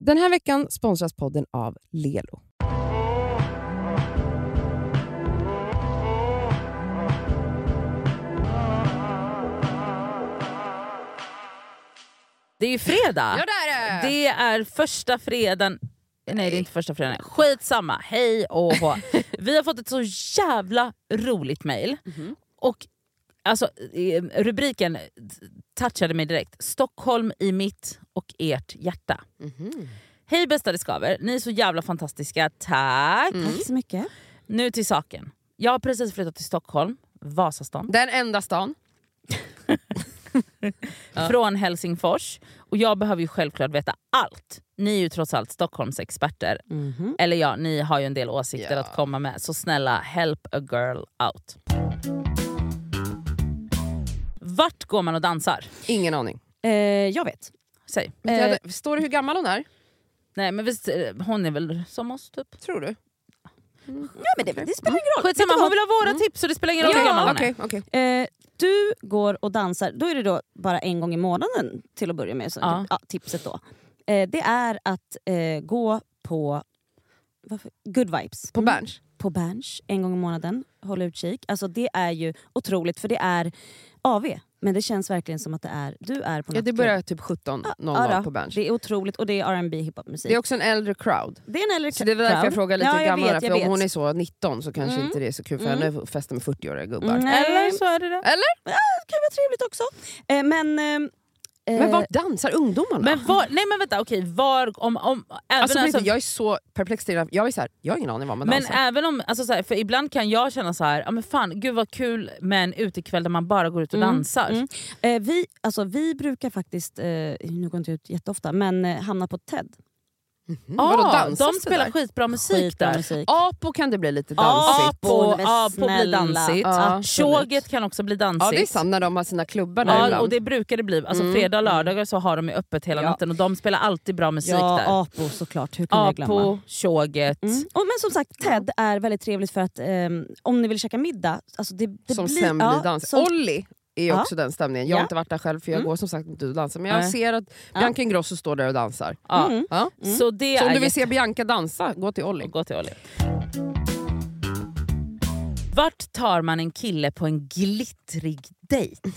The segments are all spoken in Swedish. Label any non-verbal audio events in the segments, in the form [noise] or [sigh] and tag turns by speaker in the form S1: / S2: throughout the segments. S1: Den här veckan sponsras podden av Lelo.
S2: Det är ju fredag!
S1: det är
S2: Det är första fredagen... Nej, det är inte första fredagen. Skitsamma. Hej och hå. Vi har fått ett så jävla roligt mejl.
S1: Mhm.
S2: Och alltså, eh, rubriken touchade mig direkt. Stockholm i mitt och ert hjärta. Hej bästa diskaver, ni är så jävla fantastiska. Tack!
S3: Tack så mycket.
S2: Nu till saken. Jag har precis flyttat till Stockholm, Vasastan.
S1: Den enda stan. Ja.
S2: från Helsingfors. Och jag behöver ju självklart veta allt. Ni är ju trots allt Stockholms experter. Eller ja, ni har ju en del åsikter
S1: Mhm. Ja.
S2: att komma med. Så snälla, help a girl out. Vart går man och dansar?
S1: Ingen aning.
S3: Eh, jag vet.
S2: Säg.
S1: Vet jag det? Står det hur gammal hon är?
S2: Nej men visst, eh, hon är väl som oss typ?
S1: Tror du?
S3: Ja, men det, det spelar ingen
S2: Skitsamma, hon vill ha våra tips så det spelar ingen roll hur gammal hon är.
S1: Mm. okej. okej.
S3: Eh, du går och dansar, då är det då bara en gång i månaden till att börja med. Så,
S2: Ja.
S3: ja, tipset då. Eh, det är att eh, gå på varför? good vibes. Mm.
S1: På Berns?
S3: På Berns en gång i månaden. Håll utkik. Alltså, det är ju otroligt för det är AV. Men det känns verkligen som att det är, du är på
S1: Ja, det
S3: nattklubb.
S1: börjar typ 17.00
S3: Ja, då.
S1: på Berns.
S3: Det är otroligt och det är R&B hiphopmusik.
S1: Det är också en äldre crowd.
S3: Det är en äldre
S1: Så det var därför jag
S3: crowd.
S1: frågade lite
S3: Ja,
S1: hur
S3: jag
S1: gammal hon är. För
S3: vet, jag
S1: om hon
S3: vet.
S1: är så 19 så kanske
S3: Mm.
S1: inte det är så kul för
S3: Mm.
S1: henne att festa med 40-åriga gubbar.
S3: Nej.
S2: Eller så är det det.
S1: Eller?
S3: kan vara trevligt också. Eh, men... Eh,
S1: Men var dansar ungdomarna?
S2: Men var, nej men vänta, okej. Var, om, om, även
S1: alltså, på
S2: alltså,
S1: riktigt, jag är så perplex till det här. Jag är så här, jag har ingen aning vad man
S2: Men
S1: dansar.
S2: även om, alltså så här, för ibland kan jag känna så här, ja men fan gud vad kul med en utekväll där man bara går ut och
S3: Mm,
S2: dansar.
S3: mm. eh, vi, alltså, vi brukar faktiskt, eh, nu går inte ut jätteofta, men eh, hamna på TED.
S1: Mhm.
S2: Ja,
S1: Vadå, dansas
S2: de
S1: det
S2: spelar
S1: där?
S2: skitbra musik
S3: Skitbra
S2: där.
S3: musik.
S1: Apo kan det bli lite
S2: Ja,
S1: dansigt.
S3: Apo,
S2: på,
S3: men
S2: ja, på blir
S3: snälla.
S2: dansigt.
S1: Ja,
S2: Ja,
S1: absolut.
S2: Tjoget kan också bli dansigt.
S1: Ja det är sant, när de har sina klubbar där
S2: Ja,
S1: ibland.
S2: och det brukar det bli. Alltså
S1: Mm.
S2: fredag och lördagar så har de ju öppet hela
S3: Ja.
S2: natten och de spelar alltid bra musik där.
S3: Ja, Apo såklart. Hur kunde jag glömma?
S2: Apo, tjoget.
S3: Mm. Och, men som sagt, TED är väldigt trevligt för att ehm, om ni vill käka middag... Alltså det, det
S1: som
S3: blir,
S1: sen blir
S3: ja,
S1: dans.
S3: som-
S1: Olli är ju
S3: Ja.
S1: också den stämningen. Jag har
S3: Ja.
S1: inte varit där själv för jag
S3: Mm.
S1: går som sagt inte och dansar. Men jag
S2: Nej.
S1: ser att Bianca Ingrosso står där och dansar.
S2: Ja.
S3: Mm.
S1: Ja.
S3: Mm.
S2: Så det
S1: Så om
S2: är
S1: du vill se Bianca dansa, gå till Olli.
S2: Gå till Olli. Vart tar man en kille på en glittrig dejt?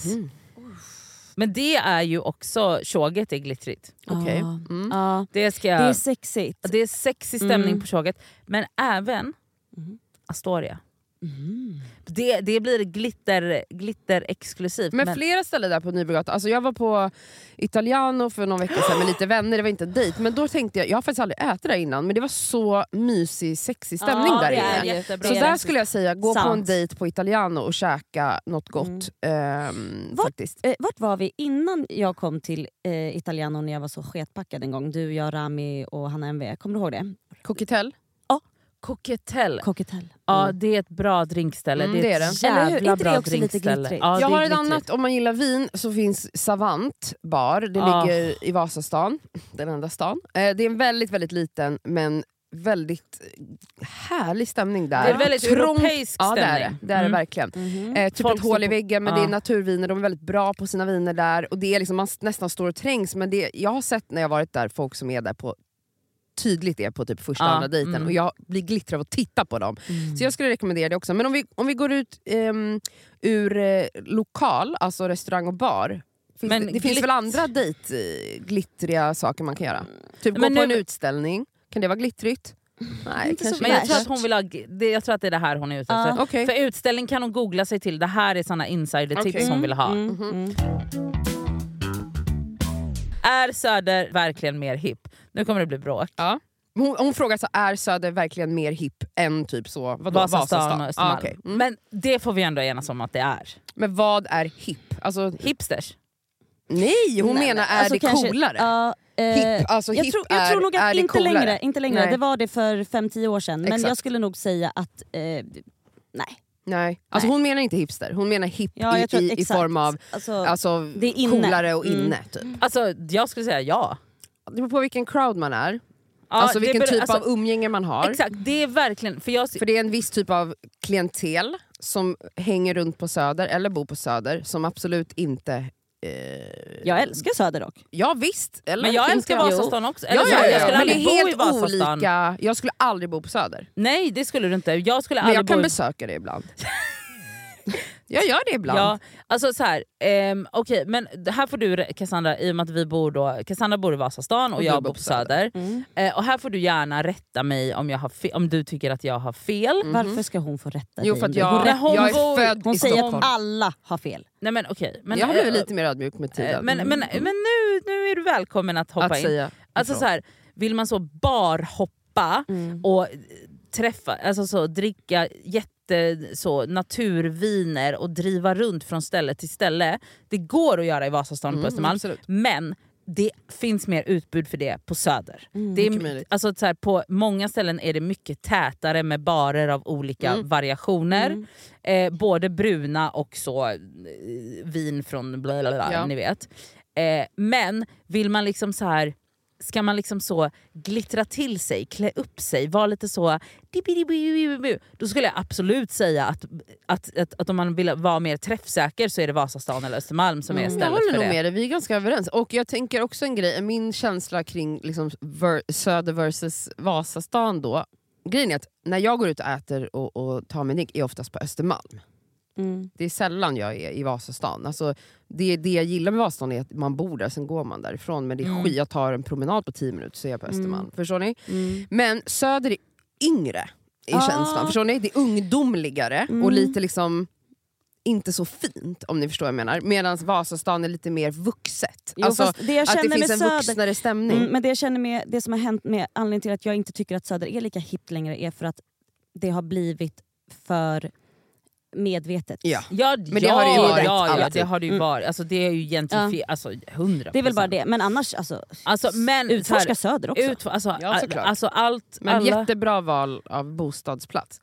S2: Men det är ju också, tjoget är glittrigt.
S3: Ja.
S1: Okej. Mm.
S3: Ja,
S2: Det, ska,
S3: det är
S2: det,
S3: sexigt.
S2: är, det är sexig stämning
S3: Mm.
S2: på tjoget. Men även
S3: Mm.
S2: Astoria.
S3: Mm.
S2: Det, det blir glitter, glitter exklusivt.
S1: Men flera ställen där på Nybrogatan. Alltså jag var på Italiano för någon vecka sedan med lite vänner, det var inte en dejt. Men då tänkte jag, jag har faktiskt aldrig ätit där innan, men det var så mysig sexig stämning
S3: Ja,
S1: där
S3: det
S1: inne.
S3: är jättebra.
S1: Så
S3: det
S1: där
S3: det.
S1: skulle jag säga, gå på en
S3: Sant.
S1: dejt på Italiano och käka något gott. ehm,
S3: Vad-
S1: faktiskt.
S3: Eh, vart var vi innan jag kom till eh, Italiano när jag var så sketpackad en gång? Du, jag, Rami och Hanna MV. Kommer du ihåg det?
S1: Coquetel.
S2: Coquetel.
S3: Coquetel.
S2: Ja, det är ett bra drinkställe.
S1: Mm,
S2: det är
S1: det är
S2: ett
S3: det. Eller hur?
S2: jävla
S3: Inte det
S2: bra
S3: också lite
S2: drinkställe.
S3: glittrigt?
S1: jag
S2: Ja, det är
S1: har ett
S2: glittrigt.
S1: annat, om man gillar vin så finns Savant bar. Det
S2: Ah.
S1: ligger i Vasastan, den enda stan. Eh, det är en väldigt, väldigt liten men väldigt härlig stämning där.
S2: Det är en väldigt
S1: Trångt-
S2: europeisk
S1: Ja det är det,
S2: stämning.
S1: det, är det
S2: Mm.
S1: verkligen.
S3: Mhm.
S1: Eh, typ
S2: Folk
S1: ett
S2: står
S1: hål i
S2: på-
S1: väggen men
S2: Ja.
S1: det är naturviner, de är väldigt bra på sina viner där. Och det är liksom, Man s- nästan står och trängs men det, jag har sett när jag varit där folk som är där på tydligt är på typ första
S2: Ja,
S1: andra dejten
S2: mm.
S1: och jag blir glittrad av att titta på dem. Så jag skulle rekommendera det också. Men om vi, om vi går ut ehm, ur eh, lokal, alltså restaurang och bar. Finns
S2: Men
S1: det, det finns
S2: glitt-
S1: väl andra dejtglittriga saker man kan göra? Typ gå
S2: Men
S1: på
S2: nu- Mm.
S1: en utställning, kan det vara glittrigt? Nej,
S3: Inte så
S1: kanske
S2: Men jag
S1: inte.
S2: tror, att hon vill ha, det, jag tror att det är det här hon är ute efter.
S3: Ja.
S1: Ah, Okej.
S2: För utställning kan hon googla sig till. Det här är såna insidertips
S1: Okej.
S2: hon vill ha.
S3: Mm,
S1: Mhm.
S3: mm.
S2: Är Söder verkligen mer hipp? Nu kommer det bli bråk.
S1: Ja. Hon, hon frågar så är Söder verkligen mer hipp än typ så, vadå,
S2: Vasastan, och Östermalm.
S1: Ah, okej. Mm.
S2: Men det får vi ändå enas om att det är.
S1: Men vad är hipp? Alltså,
S2: Hipsters.
S1: nej, hon
S3: Nej,
S1: menar
S3: men
S1: är
S3: alltså
S1: det
S3: kanske-
S1: coolare?
S3: Ja, eh,
S1: hipp, alltså,
S3: jag,
S1: hipp
S3: tror, jag tror
S1: är-
S3: nog
S1: är
S3: att
S1: det
S3: inte
S1: coolare?
S3: längre, inte längre.
S1: Nej.
S3: det var det för 5-10 år sedan. Men jag
S1: Exakt.
S3: skulle nog säga att eh, nej.
S1: Nej. Alltså,
S3: Nej.
S1: hon menar inte hipster, hon menar hipp
S3: Ja, jag tror
S1: i,
S3: att,
S1: i, i
S3: exakt.
S1: form av
S3: Alltså,
S1: alltså,
S3: det är inne.
S1: coolare och
S3: Mm.
S1: inne. Typ.
S2: Alltså jag skulle säga ja.
S1: Det beror på vilken crowd man är,
S2: ja
S1: alltså
S2: det
S1: vilken
S2: beror-
S1: typ
S2: alltså,
S1: av umgänge man har.
S2: Exakt, det är verkligen... För jag,
S1: För det är en viss typ av klientel som hänger runt på Söder eller bor på Söder som absolut inte eh,
S3: Jag älskar Söderdock.
S1: Ja visst. Eller
S2: Men jag
S1: finns
S2: älskar
S1: det-
S2: Vasastan också.
S1: Ja,
S2: Eller,
S1: ja, ja,
S2: Jag skulle
S1: men det
S2: aldrig bo
S1: är
S2: i
S1: helt
S2: Vasastan.
S1: olika. Jag skulle aldrig bo på Söder.
S2: Nej det skulle du inte. Jag skulle
S1: Men
S2: aldrig
S1: jag kan
S2: bo i-
S1: besöka det
S2: [laughs]
S1: ibland. jag gör det ibland.
S2: Ja, alltså så här, ehm, okej, men det här får du Cassandra, i och med att vi bor då, Cassandra bor i Vasastan och,
S1: Och du
S2: jag bor på Söder.
S3: Mm.
S2: Eh, och här får du gärna rätta mig om, jag har fe- om du tycker att jag har fel.
S1: Mhm.
S3: Varför ska hon få rätta
S1: Jo
S3: dig?
S1: för att
S2: Hon
S1: jag,
S2: rätt-
S1: jag är
S2: hon
S1: född
S3: Hon
S1: i
S3: säger
S1: Stockholm.
S3: att alla har fel.
S2: Nej men okej. Men,
S1: jag har blivit
S2: eh,
S1: lite mer ödmjuk med
S2: eh,
S1: tiden. Mm.
S2: Men, men, men nu, nu är du välkommen att hoppa
S1: att
S2: in.
S1: säga
S2: Alltså
S1: ifrån.
S2: så här, vill man så barhoppa och eh, träffa, alltså så dricka jätte så naturviner och driva runt från ställe till ställe. Det går att göra i Vasastan och på
S1: Mm,
S2: Östermalm.
S1: absolut.
S2: Men det finns mer utbud för det på Söder. det
S1: Mm, mycket
S2: är,
S1: möjligt.
S2: alltså, så här, på många ställen är det mycket tätare med barer av olika
S1: Mm.
S2: variationer. Eh, både bruna och så eh, vin från bla bla bla,
S1: Ja.
S2: ni vet. Eh, men vill man liksom så här ska man liksom så glittra till sig, klä upp sig, vara lite så... dibidibidibidibu, Då skulle jag absolut säga att, att, att, att om man vill vara mer träffsäker så är det Vasastan eller Östermalm som är
S1: Mm, jag
S2: stället
S1: håller
S2: för
S1: nog
S2: det.
S1: med dig, vi är ganska överens. Och jag tänker också en grej, min känsla kring liksom ver- Söder versus Vasastan då. Grejen är att när jag går ut och äter och, och tar min drink är oftast på Östermalm.
S3: Mm.
S1: Det är sällan jag är i Vasastan. Alltså, det, det jag gillar med Vasastan är att man bor där, sen går man därifrån. Men det är
S2: Mm.
S1: skit, jag tar en promenad på 10 minuter så är jag på Östermalm. Förstår ni?
S3: Mm.
S1: Men Söder är yngre i
S3: Ah.
S1: känslan. Förstår ni? Det är ungdomligare och
S3: Mm.
S1: lite liksom inte så fint om ni förstår vad jag menar. Medan Vasastan är lite mer vuxet.
S3: Jo,
S1: alltså
S3: fast det jag
S1: att det
S3: känner
S1: finns en
S3: med Söder...
S1: vuxnare stämning.
S3: Mm, men det jag känner med det som har hänt med anledningen till att jag inte tycker att Söder är lika hippt längre är för att det har blivit för medvetet.
S1: Ja.
S2: Ja,
S1: Men det har det ju
S2: ja,
S1: varit
S2: ja, ja,
S1: alltid.
S2: det har det ju
S1: Mm.
S2: varit. Alltså, det är ju gentrifierat. Alltså, 100%.
S3: Det är väl bara det, men annars alltså,
S2: Alltså, men, så
S3: utforska
S2: här,
S3: Söder också.
S2: ut, alltså,
S1: Ja,
S2: all,
S1: såklart.
S2: alltså, allt,
S1: Men
S2: alla
S1: jättebra val av bostadsplats.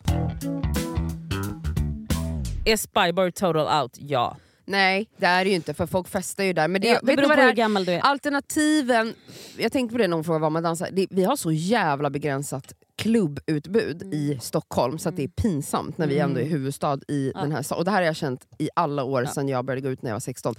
S2: är Spybar total out, ja.
S1: Nej, det är det ju inte för folk festar ju där. Men det,
S3: ja, det
S1: vet du
S3: beror på
S1: vad det
S3: hur
S1: är?
S3: gammal du är.
S1: Alternativen, jag tänkte på det när hon frågade vad man dansar. Det, vi har så jävla begränsat klubbutbud
S3: Mm.
S1: i Stockholm så att det är pinsamt när vi ändå är huvudstad i
S3: Ja.
S1: den här staden. Och det här har jag känt i alla år
S3: Ja.
S1: sedan jag började gå ut när jag var 16.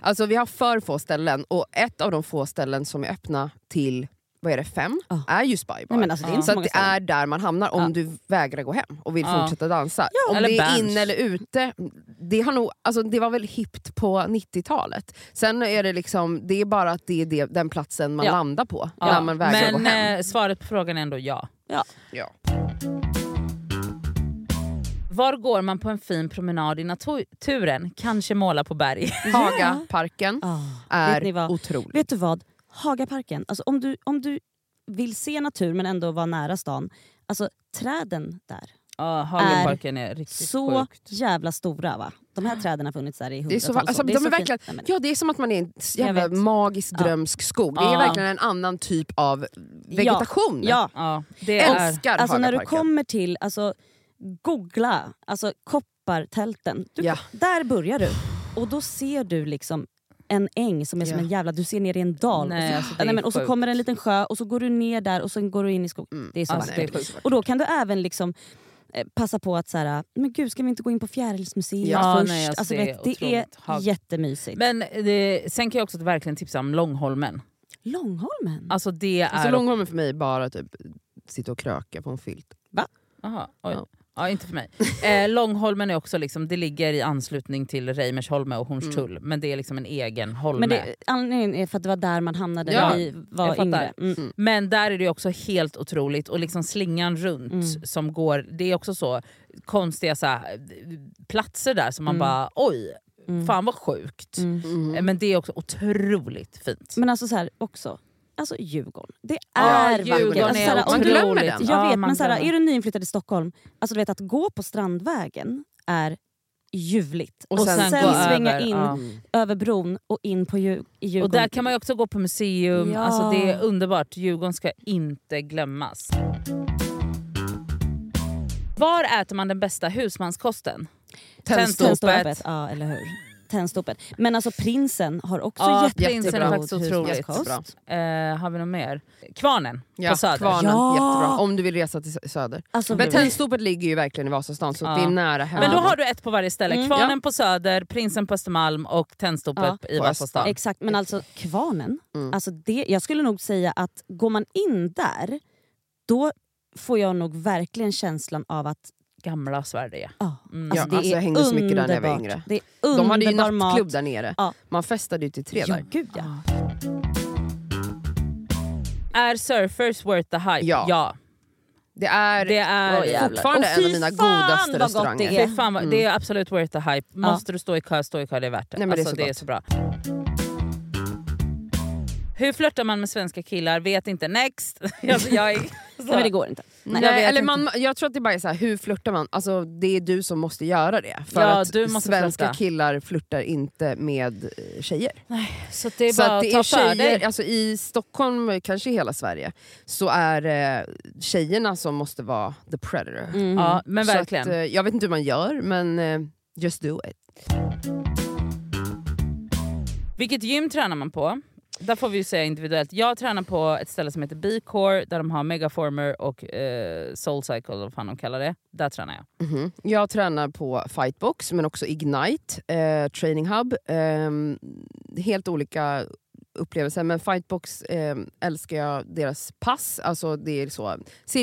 S1: Alltså vi har för få ställen och ett av de få ställen som är öppna till vad är det, fem
S3: Ja.
S1: är ju Spybar.
S3: Nej, men alltså, det är
S2: Ja.
S1: Så
S3: inte så,
S1: att
S3: många
S1: det
S3: ställen.
S1: är där man hamnar om
S2: Ja.
S1: du vägrar gå hem och vill
S2: Ja.
S1: fortsätta dansa. om
S2: Eller
S1: det är
S2: bench.
S1: inne eller ute, det, har nog, alltså, det var väl hippt på 90-talet. Sen är det liksom, det är bara att det är det, den platsen man
S3: Ja.
S1: landar på
S2: Ja.
S1: när man vägrar gå
S2: men
S1: hem.
S2: eh, svaret på frågan är ändå ja.
S1: Ja.
S2: Var går man på en fin promenad i naturen? Kanske måla på berg. [laughs]
S1: Hagaparken
S3: Ah, vet ni
S1: är
S3: vad?
S1: otrolig.
S3: Vet du vad? Hagaparken, alltså, om, du, om du vill se natur men ändå vara nära stan, alltså träden där.
S2: Ja, Hagelparken är, riktigt
S3: så
S2: sjukt.
S3: jävla stora va? De här träden har funnits där i
S1: Det är
S3: hundratals
S1: så,
S3: år.
S1: alltså,
S3: Det
S1: de
S3: är
S1: är
S3: så fint.
S1: verkligen,
S3: Nej, men-
S1: ja, det är som att man är i en
S3: Jag
S1: jävla
S3: vet.
S1: magisk
S2: Ja.
S1: drömsk skog. Det är
S2: Ja.
S1: verkligen en annan typ av vegetation.
S3: Ja,
S2: Ja, det är...
S1: Älskar
S3: alltså när du
S1: Hagaparken.
S3: kommer till, alltså googla, alltså koppartälten. Du,
S1: Ja.
S3: Där börjar du. Och då ser du liksom en äng som är som
S1: Ja.
S3: en jävla, du ser ner i en dal.
S2: Nej,
S3: och,
S2: alltså,
S3: så,
S2: det är
S3: nej, men, och så
S2: sjukt.
S3: kommer en liten sjö och så går du ner där och sen går du in i skogen.
S1: Mm.
S3: Det är så
S2: Alltså,
S3: vackert.
S2: det är
S1: Nej,
S2: sjukt.
S1: så vackert.
S3: Och då kan du även liksom eh, passa på att såhär, men gud ska vi inte gå in på Fjärilsmuseet
S2: Ja,
S3: först?
S2: nej, alltså,
S3: alltså,
S2: det är
S3: vet, det är
S2: otroligt. Hag-
S3: jättemysigt.
S2: Men det, sen kan jag också verkligen tipsa om Långholmen.
S3: Långholmen?
S2: Alltså det är...
S1: Alltså, Långholmen för mig är bara typ sitta och kröka på en filt.
S2: Aha, oj.
S1: Ja.
S2: Ja. inte för mig. Eh, Långholmen är också liksom, det ligger i anslutning till Reimersholme och Hornstull. Men det är liksom en egen holme.
S3: Mm. Men det, anledningen är för att det var där man hamnade
S1: Ja,
S3: när vi
S2: jag
S3: var
S2: fattar.
S3: yngre. Mm.
S2: Men där är det ju också helt otroligt och liksom slingan runt
S3: Mm.
S2: som går, det är också så konstiga så här, platser där
S3: Mm.
S2: som man bara oj, fan vad sjukt.
S1: Mm.
S2: Eh, Men det är också otroligt fint.
S3: Men alltså så här, också, alltså Djurgården. Det
S2: Ja,
S3: är vackert.
S2: Djurgården
S3: Alltså,
S2: är
S3: så här,
S1: Man
S3: om du,
S1: glömmer den.
S3: jag
S2: Ja,
S3: vet,
S2: man
S3: men så här,
S2: glömmer.
S3: är du nyinflyttad i Stockholm, alltså du vet att gå på Strandvägen är ljuvligt. Och, sen,
S2: gå
S3: svänga
S2: över,
S3: in
S2: ja.
S3: över bron och in på Djur, i
S2: Och
S3: Djurgården.
S2: där kan man ju också gå på museum,
S3: Ja.
S2: alltså det är underbart. Djurgården ska inte glömmas. Var äter man den bästa husmanskosten?
S1: Tändstål.
S2: Tändstål.
S3: Tändståpet, ja eller hur. Tennstopet. Men alltså prinsen har också
S2: Ja,
S3: jätte-
S2: prinsen
S1: jättebra.
S2: är faktiskt otroligt.
S1: Jättebra.
S2: Eh, har vi något mer? Kvarnen
S1: Ja,
S2: på Söder.
S1: Kvarnen,
S3: Ja.
S1: jättebra. Om du vill resa till sö- Söder.
S3: Alltså,
S1: Men Tennstopet ligger ju verkligen i Vasastan så
S2: Ja.
S1: det är nära hem.
S2: Men då har du ett på varje ställe.
S3: Mm.
S2: Kvarnen på Söder, Prinsen på Östermalm och Tennstopet i
S1: På
S2: Vasastan.
S3: Exakt, men alltså kvarnen.
S1: Mm.
S3: Alltså det, jag skulle nog säga att går man in där, då får jag nog verkligen känslan av att
S2: Gamla Sverige.
S3: ah,
S2: Mm.
S1: Ja,
S3: alltså det
S1: alltså,
S3: är
S1: jag hängde så mycket där när jag var
S3: underbart.
S1: yngre.
S3: Det är
S1: De hade ju
S3: underbar mat.
S1: nattklubb där nere.
S3: Ja.
S1: Man festade ju till tre där.
S3: Jo, gud ja.
S2: Alltså, Är surfers worth the hype?
S1: Ja. Det är,
S2: Det är
S1: Åh,
S2: jävlar.
S1: fortfarande
S3: Och
S1: en av
S3: fy
S1: mina
S3: fan
S1: godaste
S3: vad gott
S1: restauranger.
S3: det är.
S2: Fy fan, vad- Det är absolut worth the hype. Måste du stå i kö, stå i kö. Det är värt det.
S1: Nej, men det är
S2: alltså,
S1: så
S2: det, är
S1: gott.
S2: så bra. Hur flörtar man med svenska killar? Vet inte. Next! [laughs] alltså, jag är,
S3: Nej, men det går inte.
S1: Nej,
S2: Jag vet
S1: eller
S2: inte.
S1: man, jag tror att det bara är så här, hur flörtar man? Alltså, det är du som måste göra det. För
S2: Ja,
S1: att
S2: du måste
S1: svenska
S2: flörta.
S1: killar flörtar inte med eh, tjejer.
S2: så det är
S1: så
S2: bara
S1: att
S2: att,
S1: det
S2: ta
S1: är
S2: för dig.
S1: tjejer, alltså, I Stockholm, kanske i hela Sverige, så är det tjejerna som måste vara the predator.
S3: Mm.
S2: Ja, men
S1: Så att,
S2: verkligen.
S1: eh, jag vet inte hur man gör, men eh, just do it.
S2: Vilket gym tränar man på? Där får vi ju säga individuellt. Jag tränar på ett ställe som heter B-core där de har Megaformer och eh, Soulcycle, vad fan de kallar det. Där tränar jag.
S1: Mhm. Jag tränar på Fightbox, men också Ignite, eh, Training Hub. Ehm, helt olika upplevelser, men Fightbox eh, älskar jag deras pass. Alltså det är så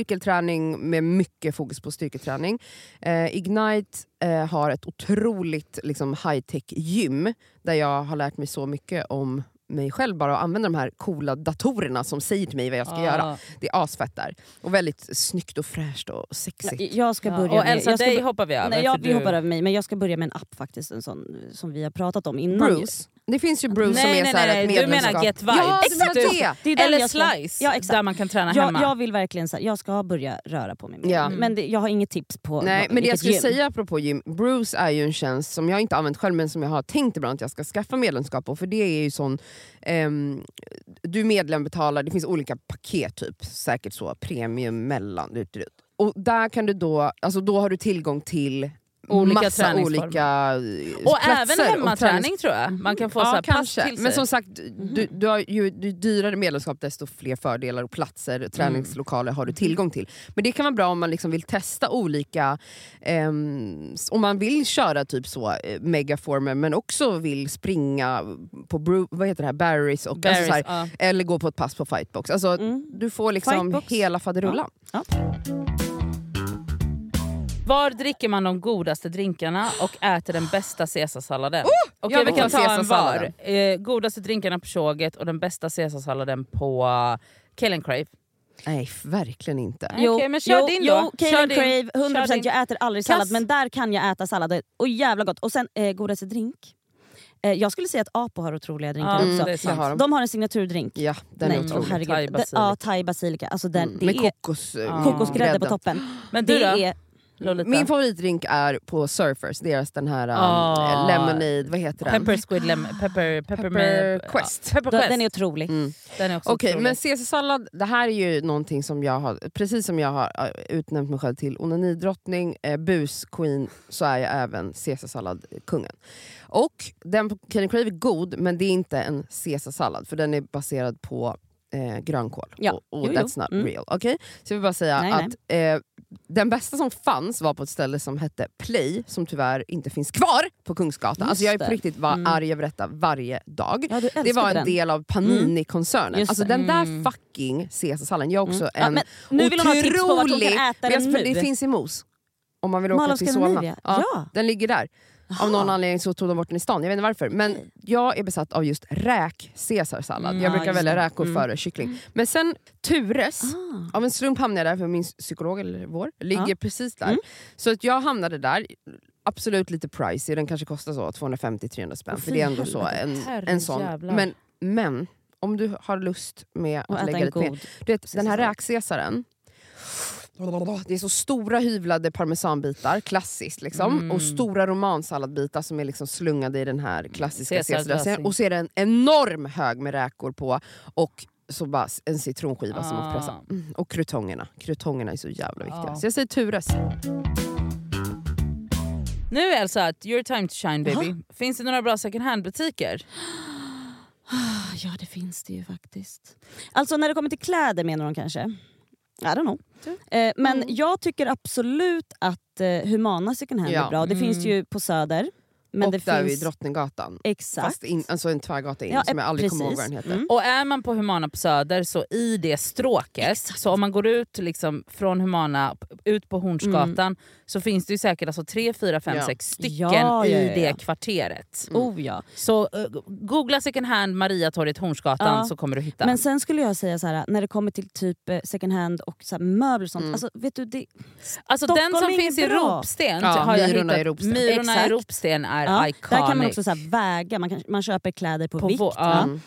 S1: cirkelträning med mycket fokus på styrketräning. Eh, Ignite eh, har ett otroligt liksom, high-tech-gym där jag har lärt mig så mycket om mig själv bara och använda de här coola datorerna som säger till mig vad jag ska
S2: Ah.
S1: göra. Det är asfett där. Och väldigt snyggt och fräscht och sexigt.
S3: Jag ska
S2: Ja,
S3: börja
S2: och
S3: med-
S2: Elsa,
S3: jag ska
S2: dig
S3: bör-
S2: hoppar vi över.
S3: Nej,
S2: för
S3: jag, vi
S2: du-
S3: hoppar över mig, men jag ska börja med en app faktiskt, en sån som vi har pratat om innan.
S1: Bruce. Det finns ju Bruce
S2: Nej,
S1: som är
S2: nej,
S1: så här
S2: nej,
S1: ett
S2: nej. Du
S1: medlemskap.
S2: menar Get Vibes.
S1: Ja, exakt
S2: Du-
S1: det!
S3: Det är den
S2: Eller
S3: jag ska-
S2: Slice,
S3: Ja, exakt.
S2: där man kan träna
S3: Jag,
S2: hemma.
S3: jag vill verkligen så här, jag ska börja röra på mig mer.
S1: Ja.
S3: Men det, jag har inget tips på
S1: Nej, men
S3: vad-
S1: det
S3: vilket
S1: jag skulle
S3: gym.
S1: säga apropå gym, Bruce är ju en tjänst som jag inte använt själv men som jag har tänkt ibland att jag ska skaffa medlemskap på för det är ju sån, ehm, du är medlem betalar, det finns olika paket typ, säkert så, premium, mellan, ut, ut. Och där kan du då, alltså då har du tillgång till
S2: Olika
S1: massa
S2: träningsformer.
S1: olika eh,
S2: och
S1: platser
S2: även
S1: och
S2: hemmaträning tror jag. Man kan få så här pass till sig.
S1: Men
S3: typ.
S1: som sagt,
S3: Mhm.
S1: du, du har ju, ju dyrare medlemskap desto fler fördelar och platser,
S3: Mm.
S1: träningslokaler har du tillgång till. Men det kan vara bra om man liksom vill testa olika, ehm, s- om man vill köra typ så eh, megaformer men också vill springa på bru, vad heter det här, Barry's och
S2: Berries,
S1: alltså så här,
S2: ja.
S1: eller gå på ett pass på fightbox. Alltså,
S3: Mm.
S1: Du får liksom
S3: Fightbox.
S1: hela faderullan.
S2: Var dricker man de godaste drinkarna och äter den bästa caesarsalladen? Okej
S1: Oh! jag
S2: vi
S1: vill
S2: kan
S1: ha
S2: ta en
S1: caesarsalladen.
S2: var. Eh, godaste drinkarna på tjoget och den bästa caesarsalladen på uh, Kill and Crave.
S1: Nej, verkligen inte.
S2: Okej, men kör
S3: jo,
S2: din
S3: jo,
S2: då.
S3: Kale
S2: Kör
S3: and
S2: din.
S3: Crave, 100%.
S2: Kör din.
S3: Jag äter aldrig
S2: Kass.
S3: sallad men där kan jag äta sallad. Och jävla gott. Och sen eh, godaste drink. Eh, jag skulle säga att Apo har otroliga drinkar
S2: Ja,
S3: också.
S2: det är sant.
S1: jag Mm, har dem.
S3: De har en signaturdrink.
S1: Ja, den
S3: Nej,
S1: är
S3: åh,
S1: otrolig.
S3: herregud.
S2: Thai
S3: Det-
S2: basilika.
S3: Ja, thai basilika. Alltså den,
S1: Mm,
S3: det
S1: Med
S3: är
S1: kokos,
S2: Ja.
S3: kokosgrädde på
S1: grädden.
S3: toppen.
S2: Men du
S3: Det
S2: då
S3: är
S2: Lolita?
S1: Min favoritdrink är på Surfers, deras den här um,
S2: Ah.
S1: lemonade, vad heter den?
S2: Pepper squid lem, pepper, pepper,
S1: Pepper
S2: ja,
S1: Quest.
S2: Pepper Quest.
S3: den är otrolig.
S1: Mm.
S2: den är också
S1: Okej,
S2: otrolig.
S1: men caesarsallad, det här är ju någonting som jag har, precis som jag har eh, utnämnt mig själv till onanidrottning, eh, busqueen, så är jag även caesarsalladkungen. Och den på Kenny Crave är god, men det är inte en caesarsallad för den är baserad på eh, grönkål.
S3: Ja.
S1: Och, och
S3: Jo, jo.
S1: that's not
S3: Mm.
S1: real. Okej? Så jag vill bara säga
S3: Nej,
S1: att Eh, den bästa som fanns var på ett ställe som hette Play, som tyvärr inte finns kvar på Kungsgatan.
S3: Just
S1: Alltså jag är på
S3: det.
S1: riktigt var
S3: Mm.
S1: arg över detta varje dag.
S3: Ja, du älskar
S1: Det var en
S3: den.
S1: del av Panini-koncernen.
S3: Mm. Just
S1: Alltså
S3: det.
S1: den där
S2: Mm.
S1: fucking caesarsalladen. Jag är också
S3: Ja,
S1: en
S3: men nu vill hon ha tips på vart hon
S1: otrolig-
S3: kan äta
S1: Men
S3: den
S1: alltså, för
S3: nu.
S1: Det finns i Mos. Om man vill åka
S3: Mall of
S1: till Solna.
S3: Scandinavia.
S1: Ja,
S3: Ja.
S1: Den ligger där. Av
S3: Ah.
S1: någon anledning så tog de bort den i stan, jag vet inte varför. Men jag är besatt av just räk caesarsallad.
S2: Mm,
S1: jag
S3: ja,
S1: brukar
S3: just
S1: välja
S3: det.
S1: räkor
S2: Mm.
S1: före kyckling. Men sen Tures,
S3: Ah.
S1: av en slump hamnade jag där för min psykolog, eller vår, ligger
S3: Ja.
S1: precis där.
S3: Mm.
S1: Så att jag hamnade där, absolut lite pricey, den kanske kostar så 250-300 spänn.
S3: Åh,
S1: för
S3: fy
S1: det är ändå så en,
S2: Herre
S1: en sån.
S2: jävlar.
S1: Men, men om du har lust med
S3: Och
S1: att
S3: äta
S1: lägga
S3: en
S1: lite mer.
S3: god.
S1: Du vet, den här
S3: Caesarsallad.
S1: räkcesaren. Det är så stora hyvlade parmesanbitar, klassiskt. Liksom.
S2: Mm.
S1: Och stora romansalladbitar som är liksom slungade i den här klassiska
S2: Caesars
S1: caesardressingen.
S2: dressing.
S1: Och så är det en enorm hög med räkor på. Och så bara en citronskiva som man får pressa.
S2: Ah.
S1: Mm, Och krutongerna. Krutongerna är så jävla viktiga.
S2: Ja.
S1: Så jag säger Tures.
S2: Nu är alltså att your time to shine baby. Finns det några bra second hand butiker?
S3: Ah, Ja det finns det ju faktiskt. Alltså när det kommer till kläder menar de kanske? I don't know.
S1: Du. Mm.
S3: Eh, men jag tycker absolut att eh, Humana second hand
S1: Ja.
S3: är bra. Det finns
S2: Mm.
S3: ju på Söder. Men
S1: och
S3: det
S1: där
S3: finns...
S1: vid Drottninggatan.
S3: Exakt.
S1: Fast in, alltså en tvärgata in
S3: Ja, eh,
S1: som jag aldrig kommer ihåg vad den
S3: precis.
S1: heter.
S3: Mm.
S2: Och är man på Humana på Söder så i det stråket, så om man går ut liksom från Humana p- ut på Hornsgatan så finns det ju säkert alltså 3, 4, 5,
S1: Ja.
S2: 6 stycken
S3: Mm. Ja, ja,
S2: i
S3: ja, ja.
S2: det kvarteret.
S1: Mm.
S3: Oh ja.
S2: Så eh, googla second hand Mariatorget Hornsgatan
S3: Ja.
S2: så kommer du hitta.
S3: Men sen skulle jag säga så här, när det kommer till typ eh, second hand och så här möbler och sånt.
S1: Mm.
S3: Alltså, vet du, det,
S2: alltså den
S3: Stockholm
S2: som
S3: är
S2: finns i
S3: inget bra.
S2: Ropsten
S1: Ja,
S2: har jag
S1: Myrorna
S2: hittat.
S1: i Ropsten.
S2: Myrorna i
S3: Exakt.
S2: Ropsten är
S3: ja,
S2: iconic.
S3: där kan man också så här väga, man, kan, man köper kläder på,
S2: På
S3: vikt.
S2: vår- ja.
S3: ja.
S1: Mm.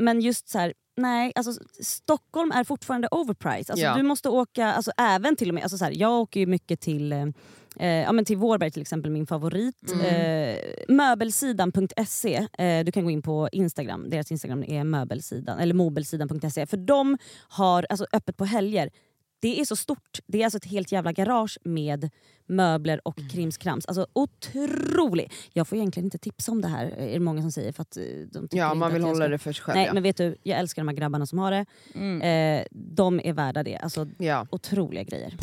S3: Eh, men just så här, nej, alltså, Stockholm är fortfarande overpriced. Alltså,
S1: Ja.
S3: Du måste åka, alltså, även till och med, alltså, så här, jag åker ju mycket till eh, Eh, ja, men till Vårberg till exempel, min favorit.
S1: Mm.
S3: Eh, möbelsidan.se, eh, du kan gå in på Instagram. Deras Instagram är möbelsidan, eller mobelsidan.se. För de har alltså, öppet på helger. Det är så stort. Det är alltså ett helt jävla garage med möbler och
S1: Mm.
S3: krimskrams. Alltså otroligt! Jag får egentligen inte tipsa om det här, är det många som säger. För att eh, de tycker
S1: Ja,
S3: inte
S1: man
S3: att
S1: vill
S3: jag
S1: hålla
S3: ska-
S1: det för sig själv.
S3: Nej
S1: ja.
S3: men vet du, jag älskar de här grabbarna som har det.
S2: Mm.
S3: Eh, de är värda det. Alltså
S1: ja.
S3: otroliga grejer.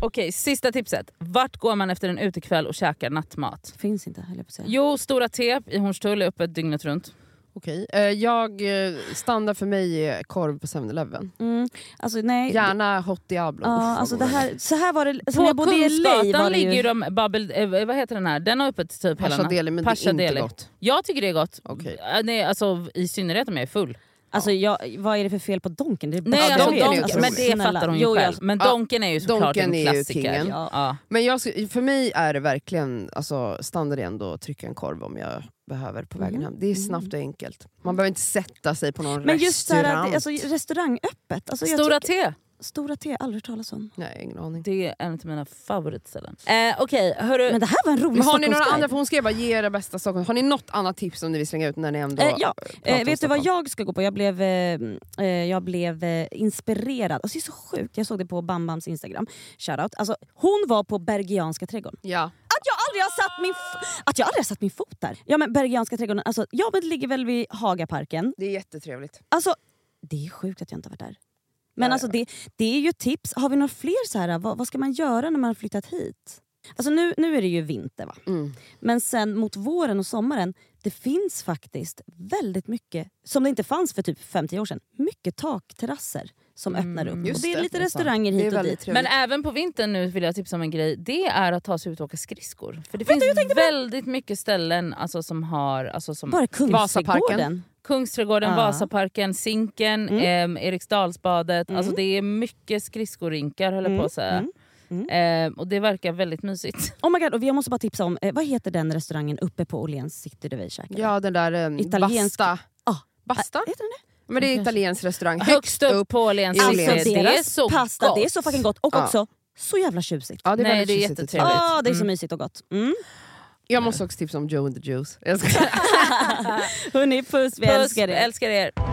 S2: Okej, sista tipset. Vart går man efter en utekväll och käkar nattmat?
S3: Finns inte höll jag på att säga.
S2: Jo, Stora T i Hornstull är öppet dygnet runt.
S1: Okej. Eh, Jag eh, standard för mig är korv på 7-Eleven.
S3: Mm, alltså nej.
S1: Gärna hot diablo. Uff,
S3: Ja,
S1: vad
S3: alltså
S1: god
S3: det
S1: den är.
S3: här, så här var det, alltså, när
S2: På
S3: jag bodde i LA var
S2: Kungsgatan
S3: det ju...
S2: ligger ju de Babbel, eh, vad heter den här? Den har öppet typ hela
S1: Pasha
S2: natten.
S1: deli, men det
S2: Pasha
S1: är inte
S2: deli.
S1: gott.
S2: Jag tycker det är gott.
S1: Okej.
S2: Eh, Nej, alltså, I synnerhet om jag är full.
S3: alltså, jag, vad är det för fel på Donken? Det är det
S2: Nej,
S1: Ja,
S3: bästa
S2: alltså,
S1: Donken är
S3: jag
S1: otrolig.
S2: donk, men
S3: vet.
S2: det
S3: snälla.
S2: fattar hon ju
S3: Jo, jag-
S2: själv. Men
S1: Ja,
S2: Donken är ju såklart
S1: Donken är
S2: en
S1: ju
S2: klassiker.
S1: kingen.
S2: ja.
S1: Men jag, sk- för mig är det verkligen alltså, standard igen då att trycka en korv om jag behöver på vägen hem. Det är snabbt och enkelt. Man behöver inte sätta sig på någon
S3: Mm. Men just så
S1: restaurang.
S3: här, att- alltså, restaurangöppet. Alltså, jag
S2: Stora
S3: tycker-
S2: T.
S3: Stora T, aldrig hört talas om.
S1: Nej, ingen aning.
S2: Det är en av mina favoritställen. Eh, Okej, hörru.
S3: Men det här var en rolig
S1: Men har ni några
S3: Stockholmsguide.
S1: andra, för hon skrev bara ge era bästa Stockholm. Har ni något annat tips som ni vill slänga ut när ni ändå
S3: Eh, ja.
S1: pratar om
S3: Eh, vet du vad
S1: Stockholm?
S3: jag ska gå på? Jag blev, eh, eh, jag blev eh, inspirerad. Alltså, det är så sjukt. Jag såg det på Bambams Instagram. Shoutout. Alltså, hon var på Bergianska trädgården.
S1: Ja.
S3: Att jag aldrig har satt min, f- att jag aldrig har satt min fot där! Ja, men Bergianska trädgården, alltså, ja, men det ligger väl vid Hagaparken.
S1: Det är jättetrevligt.
S3: Alltså, det är sjukt att jag inte har varit där. Men
S1: Nej,
S3: alltså, det, det är ju tips. Har vi några fler så här, vad, vad ska man göra när man har flyttat hit? Alltså nu, nu är det ju vinter va?
S1: Mm.
S3: Men sen mot våren och sommaren, det finns faktiskt väldigt mycket, som det inte fanns för typ 50 år sedan, mycket takterrasser som öppnar upp.
S1: Mm, just
S3: Och det
S1: det,
S3: är lite
S1: det är sant.
S3: restauranger
S1: Det är
S3: hit och
S1: väldigt
S3: dit.
S1: trevligt.
S2: Men även på vintern nu vill jag tipsa om en grej. Det är att ta sig ut och åka skridskor. För det finns väldigt mycket ställen alltså, som har... Alltså, som
S3: Bara
S1: Mm. Vasaparken.
S3: Kungsträdgården.
S2: Kungsträdgården,
S3: Ja. Mm.
S2: Vasaparken, Zinken, ehm, Eriksdalsbadet. Alltså det är mycket skridskorinkar höll jag på att
S3: Mm.
S2: säga. Ehm, och det verkar väldigt mysigt.
S3: Oh my god, och jag måste bara tipsa om, eh, vad heter den restaurangen uppe på Åhléns city där vi käkade?
S1: Ja, den där eh,
S3: Italiensk-
S1: Basta.
S3: Ah.
S1: Basta?
S3: Heter den det?
S1: Men det är italiensk restaurang.
S2: Högst upp på Åhléns
S1: i
S3: Alltså
S1: Åhléns.
S2: city.
S3: deras
S2: Det är så
S3: pasta,
S2: gott.
S3: det är så fucking gott. Och
S1: Ja.
S3: också så jävla tjusigt.
S1: Ja, det är
S2: Nej,
S1: väldigt
S2: det är
S1: tjusigt och
S2: jättetrevligt.
S1: trevligt.
S3: Ah, det är så mysigt och gott. Mm.
S1: Jag måste också tipsa om Joe and the Juice. Jag ska...
S3: Hörni, puss, vi
S2: Puss,
S3: älskar er.
S2: älskar er.